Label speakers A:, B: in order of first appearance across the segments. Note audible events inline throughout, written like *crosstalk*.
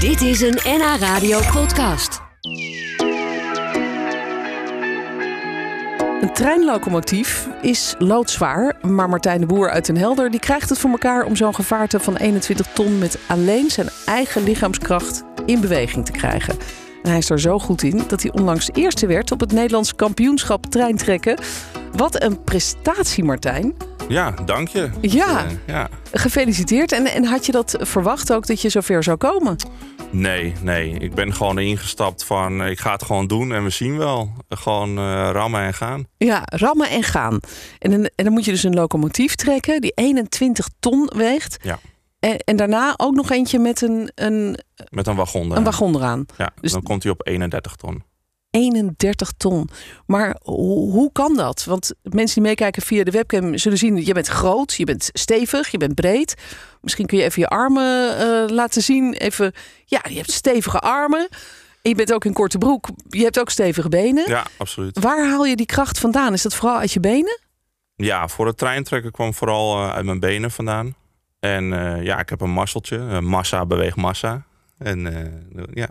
A: Dit is een NH Radio podcast.
B: Een treinlocomotief is loodzwaar, maar Martijn de Boer uit Den Helder die krijgt het voor elkaar om zo'n gevaarte van 21 ton met alleen zijn eigen lichaamskracht in beweging te krijgen. En hij is er zo goed in dat hij onlangs eerste werd op het Nederlands kampioenschap treintrekken. Wat een prestatie, Martijn.
C: Ja, dank je.
B: Ja.
C: Eh, ja.
B: Gefeliciteerd. En, en had je dat verwacht ook dat je zover zou komen?
C: Nee, nee. Ik ben gewoon ingestapt van eh, ik ga het gewoon doen en we zien wel. Gewoon eh, rammen en gaan.
B: Ja, rammen en gaan. En, een- en dan moet je dus een locomotief trekken die 21 ton weegt.
C: Ja.
B: En, en daarna ook nog eentje met een, een,
C: Met een wagon. eraan.
B: een wagon eraan.
C: Ja,
B: Dus-
C: dan komt hij op 31 ton.
B: 31 ton. Maar ho- hoe kan dat? Want mensen die meekijken via de webcam zullen zien... je bent groot, je bent stevig, je bent breed. Misschien kun je even je armen eh, laten zien. Even, ja, je hebt stevige armen. En je bent ook in korte broek. Je hebt ook stevige benen.
C: Ja, absoluut.
B: Waar haal je die kracht vandaan? Is dat vooral uit je benen?
C: Ja, voor het treintrekken kwam vooral eh, uit mijn benen vandaan. En eh, ja, ik heb een masseltje. Eh, massa beweegt massa. En eh, ja,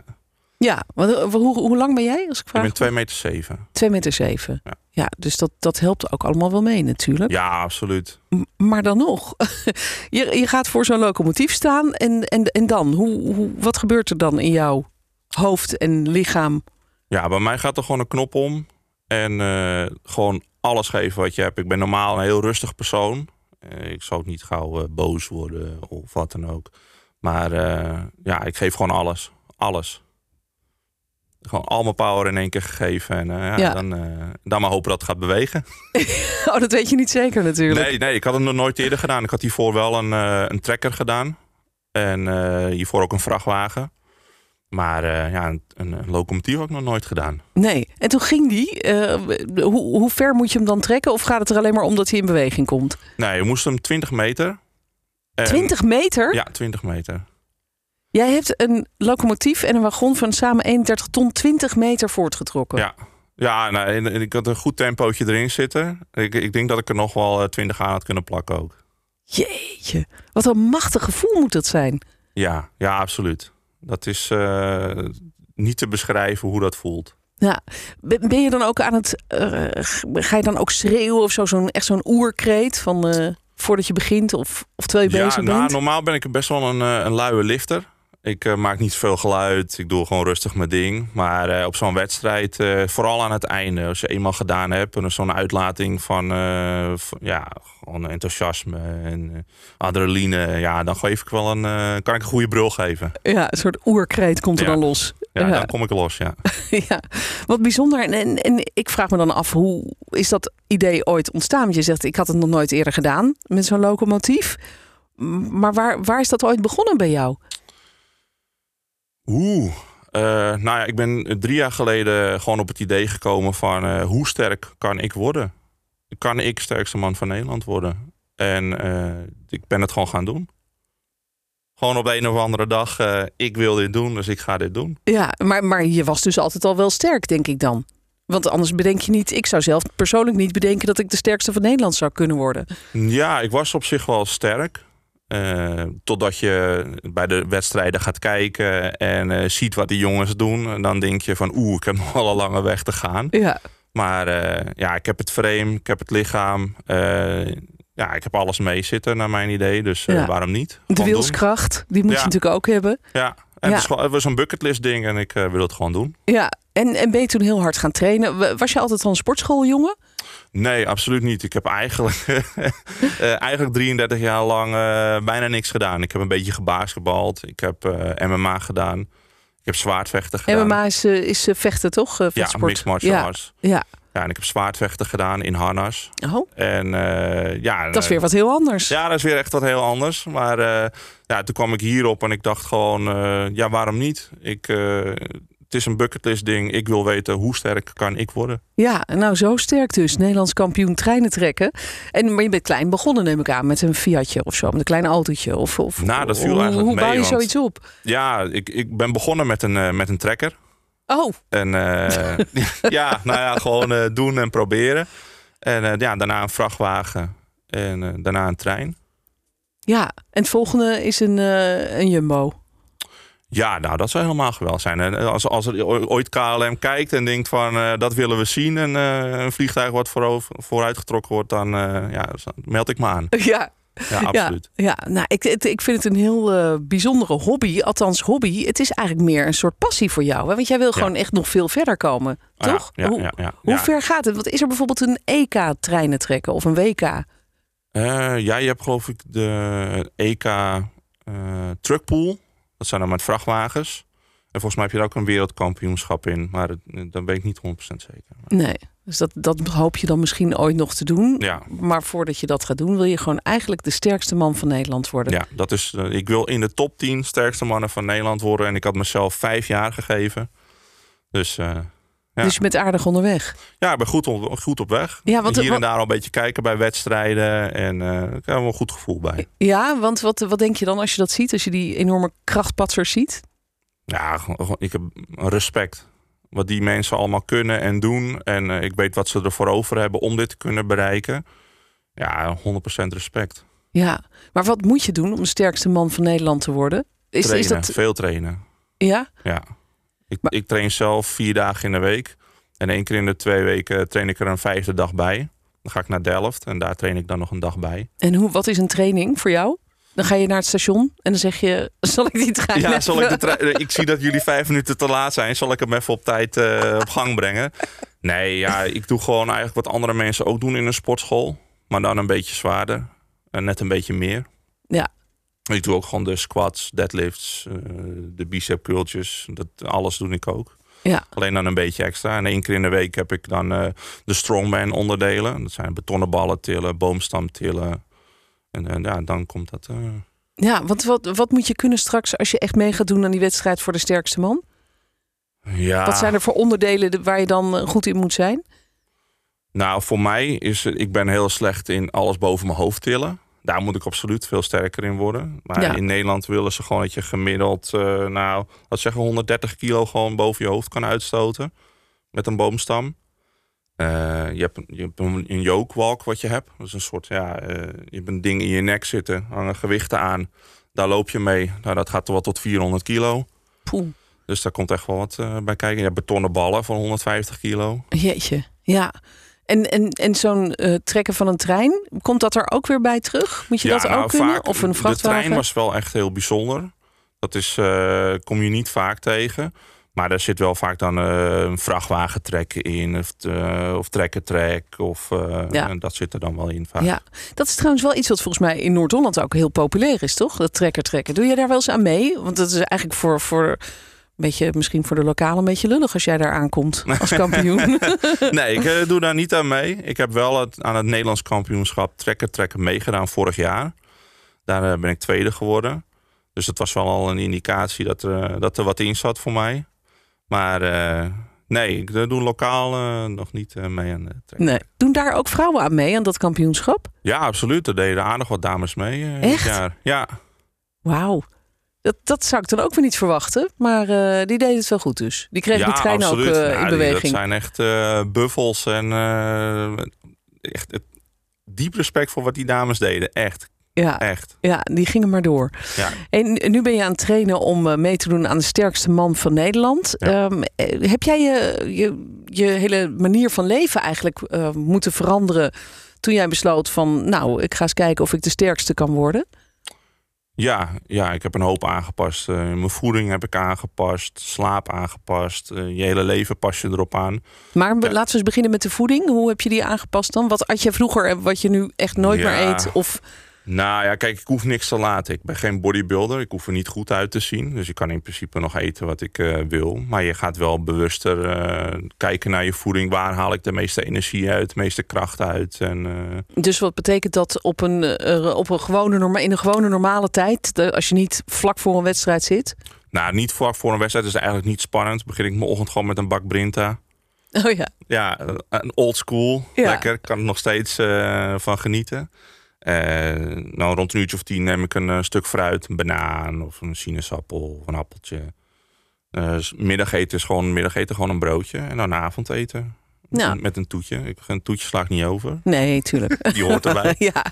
B: Ja, want, eh, hoe, hoe lang ben jij? Als ik
C: ik
B: vraag.
C: ben 2 meter 7.
B: 2 meter 7. Ja,
C: Ja.
B: dus dat, dat helpt ook allemaal wel mee natuurlijk.
C: Ja, absoluut.
B: M- Maar dan nog, *laughs* je, je gaat voor zo'n locomotief staan en, en, en dan? Hoe, hoe, wat gebeurt er dan in jouw hoofd en lichaam? *laughs*
C: Ja, bij mij gaat er gewoon een knop om. En eh, gewoon alles geven wat je hebt. Ik ben normaal een heel rustig persoon. Eh, ik zou ook niet gauw eh, boos worden of wat dan ook. Maar eh, ja, ik geef gewoon alles. Alles. Gewoon al mijn power in één keer gegeven. En eh, ja,
B: Ja.
C: Dan, eh, dan maar hopen dat het gaat bewegen.
B: Oh, dat weet je niet zeker natuurlijk.
C: Nee, nee, ik had hem nog nooit eerder gedaan. Ik had hiervoor wel een, eh, een trekker gedaan. En eh, hiervoor ook een vrachtwagen. Maar eh, ja, een, een, een locomotief had ik nog nooit gedaan.
B: Nee. En toen ging die, eh, hoe, hoe ver moet je hem dan trekken? Of gaat het er alleen maar om dat hij in beweging komt?
C: Nee, we moesten hem 20 meter. En-
B: 20 meter?
C: Eh, Ja, 20 meter.
B: Jij hebt een locomotief en een wagon van samen 31 ton 20 meter voortgetrokken.
C: Ja. Ja, nou, en- en ik had een goed tempootje erin zitten. Ik, ik denk dat ik er nog wel eh, 20 aan had kunnen plakken ook.
B: Jeetje, wat een machtig gevoel moet dat zijn.
C: Ja, ja absoluut. Dat is eh, niet te beschrijven hoe dat voelt.
B: Ja, ben ben je dan ook aan het. eh, ga je dan ook schreeuwen of zo? zo'n echt zo'n oerkreet van. eh, voordat je begint of, of terwijl je
C: ja,
B: bezig
C: nou,
B: bent?
C: normaal ben ik best wel een, eh, een luie lifter. Ik eh, maak niet veel geluid. Ik doe gewoon rustig mijn ding. Maar eh, op zo'n wedstrijd, eh, vooral aan het einde, als je eenmaal gedaan hebt, en er zo'n uitlating van, eh, van- ja, gewoon enthousiasme en eh, adrenaline. Ja, dan geef ik wel een, eh, kan ik een goede brul geven.
B: Ja, een soort oerkreet komt er
C: Ja.
B: dan los.
C: Ja,
B: Ja.
C: dan kom ik los. Ja.
B: *laughs* ja, wat bijzonder. En, en, en ik vraag me dan af, hoe is dat idee ooit ontstaan? Want je zegt, ik had het nog nooit eerder gedaan met zo'n locomotief. M- Maar waar, waar is dat ooit begonnen bij jou?
C: Oeh. Eh, nou ja, ik ben drie jaar geleden gewoon op het idee gekomen van eh, hoe sterk kan ik worden? Kan ik sterkste man van Nederland worden? En eh, ik ben het gewoon gaan doen. Gewoon op de een of andere dag, eh, ik wil dit doen, dus ik ga dit doen.
B: Ja, maar, maar je was dus altijd al wel sterk, denk ik dan. Want anders bedenk je niet, ik zou zelf persoonlijk niet bedenken dat ik de sterkste van Nederland zou kunnen worden.
C: Ja, ik was op zich wel sterk. Eh, totdat je bij de wedstrijden gaat kijken en eh, ziet wat die jongens doen. En dan denk je van oeh, ik heb nog wel een lange weg te gaan.
B: Ja,
C: Maar eh, ja, ik heb het frame, ik heb het lichaam. eh, ja, ik heb alles mee zitten naar mijn idee. Dus eh,
B: Ja.
C: waarom niet?
B: De
C: Gewoon
B: wilskracht, die moet
C: Ja.
B: je natuurlijk ook hebben.
C: doen. Ja,
B: Ja.
C: en Het, is gewoon- het was een bucketlist ding en ik eh, wil het gewoon doen.
B: Ja, en, en ben je toen heel hard gaan trainen? Wa- Was je altijd al een sportschooljongen?
C: Nee, absoluut niet. Ik heb eigenlijk, *laughs* eh, eigenlijk 33 jaar lang eh, bijna niks gedaan. Ik heb een beetje gebasketbald. Ik heb eh, MMA gedaan. Ik heb zwaardvechten gedaan.
B: MMA is, eh, is eh, vechten, toch? Eh,
C: Ja,
B: vechtsport.
C: mixed martial
B: ja.
C: arts.
B: Ja.
C: Ja, en ik heb zwaardvechten gedaan in harnas.
B: Oh,
C: En eh, ja...
B: dat is
C: eh,
B: weer wat heel anders.
C: Ja, dat is weer echt wat heel anders. Maar eh, ja, toen kwam ik hierop en ik dacht gewoon, eh, ja, waarom niet? Ik, eh, het is een bucketlist ding. Ik wil weten hoe sterk kan ik worden.
B: Ja, nou zo sterk dus. Nederlands kampioen treinen trekken. En, maar je bent klein begonnen, neem ik aan, met een Fiatje of zo. Met een klein autootje. Of, of,
C: Nou, dat viel
B: hoe,
C: eigenlijk
B: Hoe
C: mee,
B: bouw je
C: want-
B: zoiets op?
C: Ja, ik, ik ben begonnen met een, eh, met een trekker.
B: Oh,
C: En eh, ja, nou ja, gewoon eh, doen en proberen. En eh, ja, daarna een vrachtwagen. En eh, daarna een trein.
B: ja. En het volgende is een, eh, een Jumbo. *laughs*
C: Ja, nou, dat zou helemaal geweldig zijn. En als, als er o- ooit KLM kijkt en denkt van eh, dat willen we zien, en, eh, een vliegtuig wat voorover, vooruitgetrokken wordt, dan eh, ja, dus dan meld ik me aan.
B: *laughs* Ja,
C: Ja, absoluut.
B: Ja, ja. Nou, ik, het- ik vind het een heel eh, bijzondere hobby. Althans, hobby. Het is eigenlijk meer een soort passie voor jou. Hè? Want jij wil gewoon echt nog veel verder komen.
C: Ah, Ja,
B: Toch?
C: Ja,
B: Hoe-
C: ja, ja,
B: Hoe
C: ja.
B: ver gaat het? Wat is er bijvoorbeeld een EK treinen trekken of een WK?
C: Eh, ja, je hebt geloof ik de EK eh, Truckpool. Dat zijn dan met vrachtwagens. En volgens mij heb je daar ook een wereldkampioenschap in. Maar het- dat weet ik niet 100% zeker.
B: Nee. Dus dat, dat hoop je dan misschien ooit nog te doen.
C: Ja,
B: Maar voordat je dat gaat doen, wil je gewoon eigenlijk de sterkste man van Nederland worden.
C: ja dat is, eh, ik wil in de top 10 sterkste mannen van Nederland worden. En ik had mezelf vijf jaar gegeven. Dus eh, Ja.
B: Dus je bent aardig onderweg.
C: ja, ik ben goed op, goed op weg.
B: Ja, want-
C: Hier en
B: want-
C: daar al een beetje kijken bij wedstrijden. En eh ik heb er wel een goed gevoel bij.
B: Ja, want wat, wat denk je dan als je dat ziet? Als je die enorme krachtpatsers ziet?
C: Ja, gewoon- gewoon- ik heb respect. Wat die mensen allemaal kunnen en doen. En eh, ik weet wat ze ervoor over hebben om dit te kunnen bereiken. Ja, 100% respect.
B: Ja. Maar wat moet je doen om de sterkste man van Nederland te worden? Is, is
C: Trainen,
B: dat...
C: veel trainen.
B: Ja?
C: Ja. Ik,
B: Maar-
C: ik train zelf vier dagen in de week. En één keer in de twee weken train ik er een vijfde dag bij. Dan ga ik naar Delft en daar train ik dan nog een dag bij.
B: En hoe, wat is een training voor jou? Dan ga je naar het station en dan zeg je, *laughs* zal ik die trein
C: Ja,
B: even-
C: zal ik, de trein- ik zie dat jullie vijf minuten te laat zijn. Zal ik hem even op tijd eh, op gang brengen? Nee, ja, ik doe gewoon eigenlijk wat andere mensen ook doen in een sportschool. Maar dan een beetje zwaarder. En net een beetje meer.
B: Ja.
C: Ik doe ook gewoon de squats, deadlifts, eh, de bicep curltjes. Dat, alles doe ik ook.
B: Ja.
C: Alleen dan een beetje extra. En één keer in de week heb ik dan eh, de strongman onderdelen. Dat zijn betonnen ballen tillen, boomstam tillen. En eh, ja, dan komt dat... eh,
B: Ja, want wat, wat moet je kunnen straks als je echt mee gaat doen aan die wedstrijd voor de sterkste man?
C: ja.
B: Wat zijn er voor onderdelen de- waar je dan eh, goed in moet zijn?
C: Nou, voor mij is het- ik ben heel slecht in alles boven mijn hoofd tillen. Daar moet ik absoluut veel sterker in worden. Maar
B: Ja.
C: in Nederland willen ze gewoon dat je gemiddeld, eh, nou, laat zeggen 130 kilo gewoon boven je hoofd kan uitstoten. Met een boomstam. Eh, je hebt, een- je hebt een, een yokewalk wat je hebt. Dat is een soort, ja, eh, je hebt een ding in je nek zitten, hangen gewichten aan. Daar loop je mee. Nou, dat gaat toch wel tot 400 kilo.
B: Poeh,
C: Dus daar komt echt wel wat eh, bij kijken. Je hebt betonnen ballen van 150 kilo.
B: jeetje. Ja. En, en, en zo'n eh, trekken van een trein, komt dat er ook weer bij terug? Moet je dat
C: nou,
B: ook kunnen?
C: vaak-
B: Of een vrachtwagen?
C: De trein was wel echt heel bijzonder. Dat is, eh, kom je niet vaak tegen. Maar daar zit wel vaak dan eh, een vrachtwagentrek in. Of, eh, of trekkertrek. Of, eh,
B: Ja.
C: en dat zit er dan wel in vaak.
B: Ja, dat is trouwens wel iets wat volgens mij in Noord-Holland ook heel populair is, toch? Dat trekker trekken. Doe je daar wel eens aan mee? Want dat is eigenlijk voor, voor een beetje, misschien voor de lokale een beetje lullig als jij daar aankomt als
C: *laughs*
B: kampioen.
C: *laughs* Nee, ik eh, doe daar niet aan mee. Ik heb wel het, aan het Nederlands kampioenschap trekkertrekken meegedaan vorig jaar. Daar eh, ben ik tweede geworden. Dus dat was wel al een indicatie dat er, eh, dat er wat in zat voor mij. Maar eh, nee, ik eh, doe lokaal eh, nog niet eh, mee aan de trekker.
B: nee. Doen daar ook vrouwen aan mee aan dat kampioenschap?
C: Ja, absoluut. Er deden aardig wat dames mee eh, dit
B: Echt?
C: jaar. Ja,
B: Wauw. Dat, dat zou ik dan ook weer niet verwachten. Maar eh, die deden het wel goed dus. Die kregen
C: ja
B: die trein
C: absoluut.
B: ook eh,
C: Ja,
B: in
C: die-
B: beweging.
C: Dat zijn echt eh, buffels en eh, echt het- diep respect voor wat die dames deden. Echt,
B: Ja,
C: echt.
B: ja, die gingen maar door.
C: Ja.
B: En nu ben je aan het trainen om eh, mee te doen aan de sterkste man van Nederland.
C: Ja.
B: Ehm, eh, heb jij je, je, je hele manier van leven eigenlijk eh, moeten veranderen toen jij besloot van nou, ik ga eens kijken of ik de sterkste kan worden?
C: Ja, ja, ik heb een hoop aangepast. Eh, mijn voeding heb ik aangepast, slaap aangepast. Eh, je hele leven pas je erop aan.
B: Maar be-
C: Ja.
B: laten we eens beginnen met de voeding. Hoe heb je die aangepast dan? Wat at je vroeger en wat je nu echt nooit
C: Ja.
B: meer eet? Of
C: Nou ja, kijk, ik hoef niks te laten. Ik ben geen bodybuilder. Ik hoef er niet goed uit te zien. Dus ik kan in principe nog eten wat ik eh, wil. Maar je gaat wel bewuster eh, kijken naar je voeding. Waar haal ik de meeste energie uit, de meeste kracht uit? En, eh,
B: dus wat betekent dat op een, eh, op een gewone norma- in een gewone normale tijd, de- als je niet vlak voor een wedstrijd zit?
C: nou, niet voor, voor een wedstrijd is het eigenlijk niet spannend. Begin ik mijn ochtend gewoon met een bak Brinta.
B: Oh ja.
C: Ja, eh, een old school.
B: Ja.
C: Lekker. Ik kan er nog steeds eh, van genieten. Eh, nou, rond een uurtje of tien neem ik een eh, stuk fruit. Een banaan of een sinaasappel of een appeltje. Eh, s- middageten is gewoon middageten, gewoon een broodje. En dan avondeten.
B: Ja.
C: Met een toetje. Ik, een toetje sla ik niet over.
B: Nou, Nee, tuurlijk.
C: Die
B: *laughs*
C: hoort erbij.
B: ja.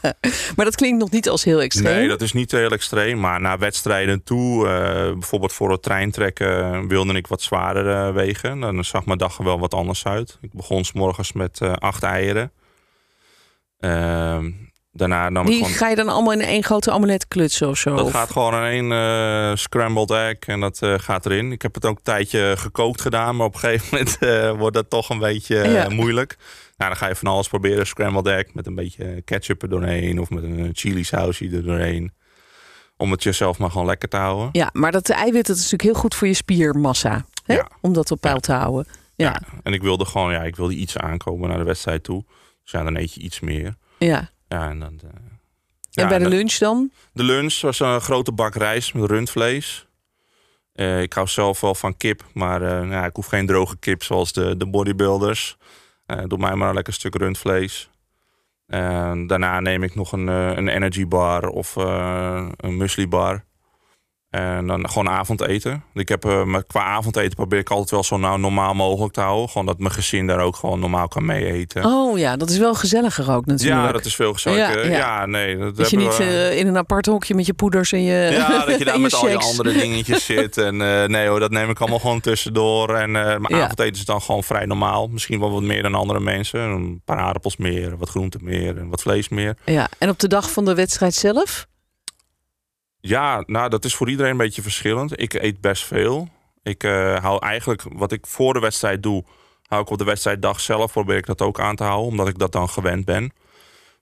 B: Maar dat klinkt nog niet als heel extreem.
C: Nee, dat is niet heel extreem. Maar naar wedstrijden toe, eh, bijvoorbeeld voor het treintrekken, wilde ik wat zwaarder eh, wegen. Dan zag mijn dag er wel wat anders uit. Ik begon s'morgens met eh, acht eieren. Ehm, daarna nam ik
B: Die
C: gewoon...
B: ga je dan allemaal in één grote omelet klutsen of zo?
C: Dat
B: Of-
C: gaat gewoon in één eh, scrambled egg en dat eh, gaat erin. Ik heb het ook een tijdje gekookt gedaan, maar op een gegeven moment *laughs* eh, wordt dat toch een beetje eh,
B: Ja.
C: moeilijk. Nou, dan ga je van alles proberen. Scrambled egg met een beetje ketchup er doorheen of met een eh, chili sausje er doorheen. Om het jezelf maar gewoon lekker te houden.
B: Ja, maar dat eiwit dat is natuurlijk heel goed voor je spiermassa. Hè?
C: Ja.
B: Om dat op peil te houden. Ja,
C: En ik wilde gewoon, ja, ik wilde iets aankomen naar de wedstrijd toe. Dus ja, dan eet je iets meer.
B: ja.
C: Ja, en dan... eh,
B: En
C: ja,
B: bij de
C: dan-
B: lunch dan?
C: De lunch was een grote bak rijst met rundvlees. Eh, ik hou zelf wel van kip, maar eh, nou ja, ik hoef geen droge kip zoals de, de bodybuilders. Eh, doe mij maar een lekker stuk rundvlees. Eh, daarna neem ik nog een, eh, een energy bar of eh, een muesli bar. En dan gewoon avondeten. Ik heb, eh, maar qua avondeten probeer ik altijd wel zo nou normaal mogelijk te houden. Gewoon dat mijn gezin daar ook gewoon normaal kan mee eten.
B: Oh ja, dat is wel gezelliger ook natuurlijk.
C: ja, dat is veel gezelliger.
B: Ja,
C: Ja,
B: ja.
C: nee. Dat
B: Dat je
C: hebben
B: niet
C: we-
B: eh, in een apart hokje met je poeders en je *laughs*
C: Ja, dat je daar
B: en
C: met al je
B: shakes.
C: andere
B: *laughs*
C: dingetjes zit. En eh, nee hoor, dat neem ik allemaal gewoon tussendoor. En eh mijn
B: Ja.
C: avondeten is dan gewoon vrij normaal. Misschien wel wat meer dan andere mensen. Een paar aardappels meer, wat groenten meer en wat vlees meer.
B: Ja, en op de dag van de wedstrijd zelf?
C: Ja, nou dat is voor iedereen een beetje verschillend. Ik eet best veel. Ik eh, hou eigenlijk, wat ik voor de wedstrijd doe, hou ik op de wedstrijddag zelf. Probeer ik dat ook aan te houden, omdat ik dat dan gewend ben.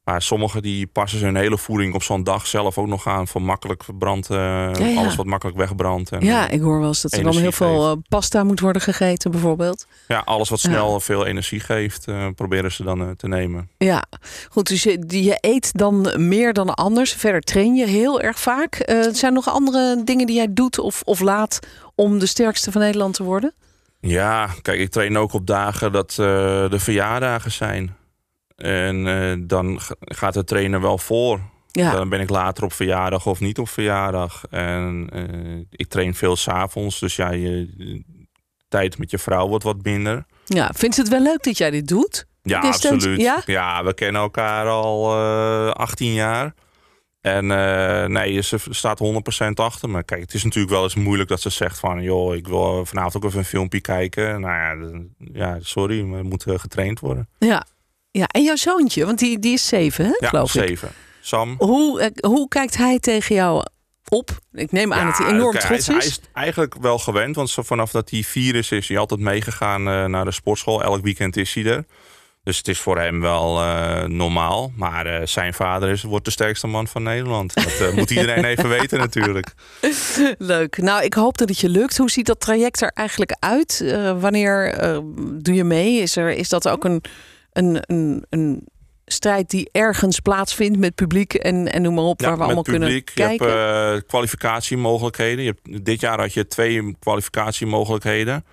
C: Maar sommigen die passen hun hele voeding op zo'n dag zelf ook nog aan. Van makkelijk verbrand, eh,
B: ja.
C: alles wat makkelijk wegbrandt. En,
B: Ja, ik hoor wel eens dat er dan heel
C: energie
B: veel eh, pasta moet worden gegeten bijvoorbeeld.
C: Ja, alles wat snel veel energie geeft, eh, proberen ze dan eh, te nemen.
B: Ja, goed. Dus je, die- je eet dan meer dan anders. Verder train je heel erg vaak. Eh zijn er nog andere dingen die jij doet of, of laat om de sterkste van Nederland te worden?
C: Ja, kijk, ik train ook op dagen dat eh, de verjaardagen zijn. En eh, dan g- gaat de trainer wel voor.
B: Ja,
C: Dan ben ik later op verjaardag of niet op verjaardag. En eh, ik train veel s'avonds, dus ja, je je tijd met je vrouw wordt wat minder.
B: ja. vindt ze het wel leuk dat jij dit doet?
C: Ja,
B: Jij steunt-
C: absoluut.
B: ja?
C: Ja? we kennen elkaar al eh, 18 jaar. En eh, nee, ze staat 100% achter me. Kijk, het is natuurlijk wel eens moeilijk dat ze zegt van... joh, ik wil vanavond ook even een filmpje kijken. Nou ja, dan- ja sorry, maar het moet eh, getraind worden.
B: Ja. ja. En jouw zoontje, want die, die is zeven, hè,
C: Ja,
B: geloof ik.
C: zeven. Sam.
B: Hoe, eh, hoe kijkt hij tegen jou op? Ik neem aan dat hij
C: Ja,
B: enorm
C: kijk,
B: trots
C: hij
B: is.
C: is, Hij is eigenlijk wel gewend, want zo vanaf dat hij vier is, is hij altijd meegegaan eh, naar de sportschool. Elk weekend is hij er. Dus het is voor hem wel eh, normaal. Maar eh, zijn vader is, wordt de sterkste man van Nederland. Dat eh, moet
B: *laughs*
C: iedereen even weten natuurlijk.
B: Leuk. Nou, ik hoop dat het je lukt. Hoe ziet dat traject er eigenlijk uit? Eh, wanneer eh, doe je mee? Is, er, is dat ook een, een, een, een strijd die ergens plaatsvindt met publiek en, en noem maar op, waar we
C: met
B: allemaal
C: publiek.
B: kunnen kijken?
C: Je hebt eh, kwalificatiemogelijkheden. Je hebt, dit jaar had je twee kwalificatiemogelijkheden.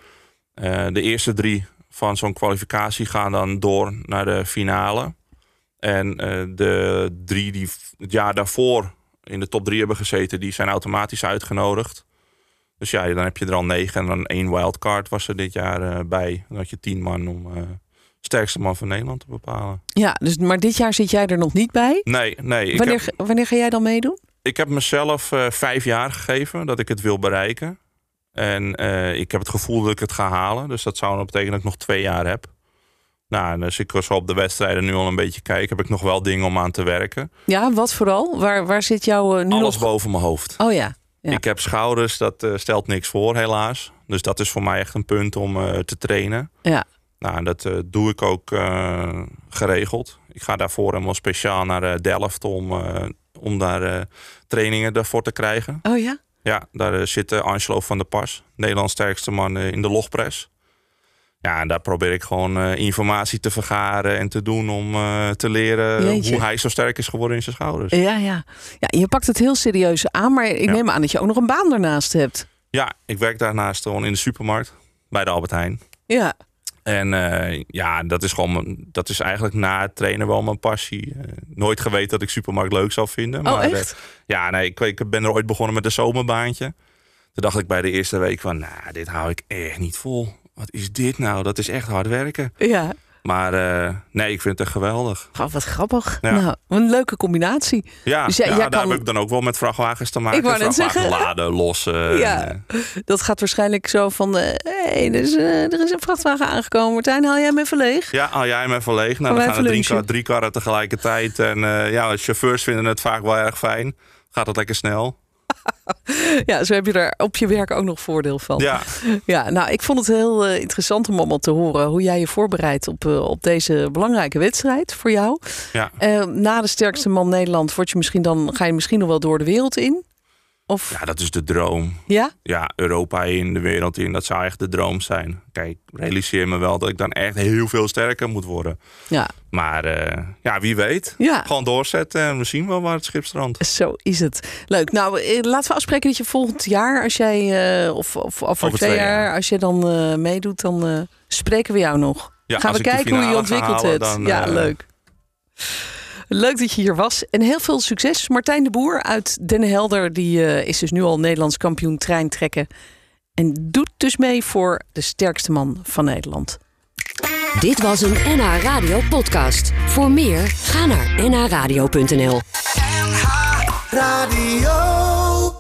C: Eh, de eerste drie van zo'n kwalificatie gaan dan door naar de finale. En eh, de drie die v- het jaar daarvoor in de top drie hebben gezeten, die zijn automatisch uitgenodigd. Dus ja, dan heb je er al negen en dan één wildcard was er dit jaar eh, bij. Dan had je tien man om eh, sterkste man van Nederland te bepalen.
B: Ja, dus, maar dit jaar zit jij er nog niet bij.
C: Nee, nee. ik
B: Wanneer,
C: heb-
B: ga- wanneer ga jij dan meedoen?
C: ik heb mezelf eh, vijf jaar gegeven dat ik het wil bereiken. En eh, ik heb het gevoel dat ik het ga halen. Dus dat zou dan betekenen dat ik nog twee jaar heb. Nou, dus ik was op de wedstrijden nu al een beetje kijk. Heb ik nog wel dingen om aan te werken.
B: Ja, wat vooral? Waar, waar zit jouw eh, nu
C: Alles
B: nog...
C: boven mijn hoofd.
B: Oh ja. Ja.
C: Ik heb schouders, dat eh, stelt niks voor helaas. Dus dat is voor mij echt een punt om eh, te trainen.
B: Ja.
C: Nou, en dat eh, doe ik ook eh, geregeld. Ik ga daarvoor helemaal speciaal naar eh, Delft om, eh, om daar eh, trainingen daarvoor te krijgen.
B: Oh ja?
C: Ja, daar eh, zit eh, Angelo van der Pas, Nederlands sterkste man eh, in de logpres. Ja, en daar probeer ik gewoon eh, informatie te vergaren en te doen om eh, te leren
B: Jeetje. Eh.
C: hoe hij zo sterk is geworden in zijn schouders.
B: Ja, ja. ja, je pakt het heel serieus aan, maar ik
C: Ja.
B: neem aan dat je ook nog een baan daarnaast hebt.
C: Ja, ik werk daarnaast gewoon in de supermarkt bij de Albert Heijn.
B: Ja,
C: En eh, ja, dat is, gewoon, mijn- dat is eigenlijk na het trainen wel mijn passie. Eh, nooit geweten dat ik supermarkt leuk zou vinden.
B: oh
C: maar, eh,
B: echt?
C: Ja, nee, ik, ik ben er ooit begonnen met een zomerbaantje. Toen dacht ik bij de eerste week van, nou, dit hou ik echt niet vol. Wat is dit nou? Dat is echt hard werken.
B: Ja.
C: Maar eh, nee, ik vind het echt geweldig.
B: Gaf wat grappig.
C: Ja.
B: Nou, een leuke combinatie.
C: Ja,
B: Dus jij-
C: ja,
B: jij
C: daar
B: kan-
C: heb ik dan ook wel met vrachtwagens te maken.
B: Ik wou net
C: vrachtwagen
B: zeggen.
C: laden, lossen.
B: Ja.
C: en, eh,
B: Dat gaat waarschijnlijk zo van... Hé, hey, er, is, eh, er is een vrachtwagen aangekomen. Martijn, haal jij hem even leeg?
C: Ja, haal jij hem even leeg. Nou,
B: Gaan
C: dan
B: we
C: gaan er drie,
B: even
C: kar- drie karren tegelijkertijd. En eh, ja, de chauffeurs vinden het vaak wel erg fijn. Gaat het lekker snel.
B: Ja, zo heb je daar op je werk ook nog voordeel van.
C: Ja,
B: Ja, nou, ik vond het heel eh, interessant om allemaal te horen hoe jij je voorbereidt op, eh, op deze belangrijke wedstrijd voor jou.
C: ja.
B: Eh, na de sterkste man Nederland word je misschien dan, ga je misschien nog wel door de wereld in? Of ja?
C: ja, dat is de droom. Ja, Europa in, de wereld in. Dat zou echt de droom zijn. Kijk, realiseer me wel dat ik dan echt heel veel sterker moet worden.
B: Ja,
C: Maar eh, ja, wie weet.
B: ja.
C: Gewoon doorzetten en we zien wel waar het schip strandt.
B: Zo is het. Leuk. Nou, eh, laten we afspreken dat je volgend jaar, als jij, eh, of, of, of over twee jaar, als je dan eh, meedoet, dan eh, spreken we jou nog.
C: Ja,
B: Gaan
C: als
B: we
C: ik die
B: kijken hoe je
C: finale ga
B: ontwikkeld
C: halen,
B: hebt.
C: dan,
B: ja,
C: eh,
B: leuk. Leuk dat je hier was. En heel veel succes. Martijn de Boer uit Den Helder. Die eh, is dus nu al Nederlands kampioen treintrekken. En doet dus mee voor de sterkste man van Nederland.
A: Dit was een NH Radio podcast. Voor meer, ga naar nhradio.nl.
D: NH Radio.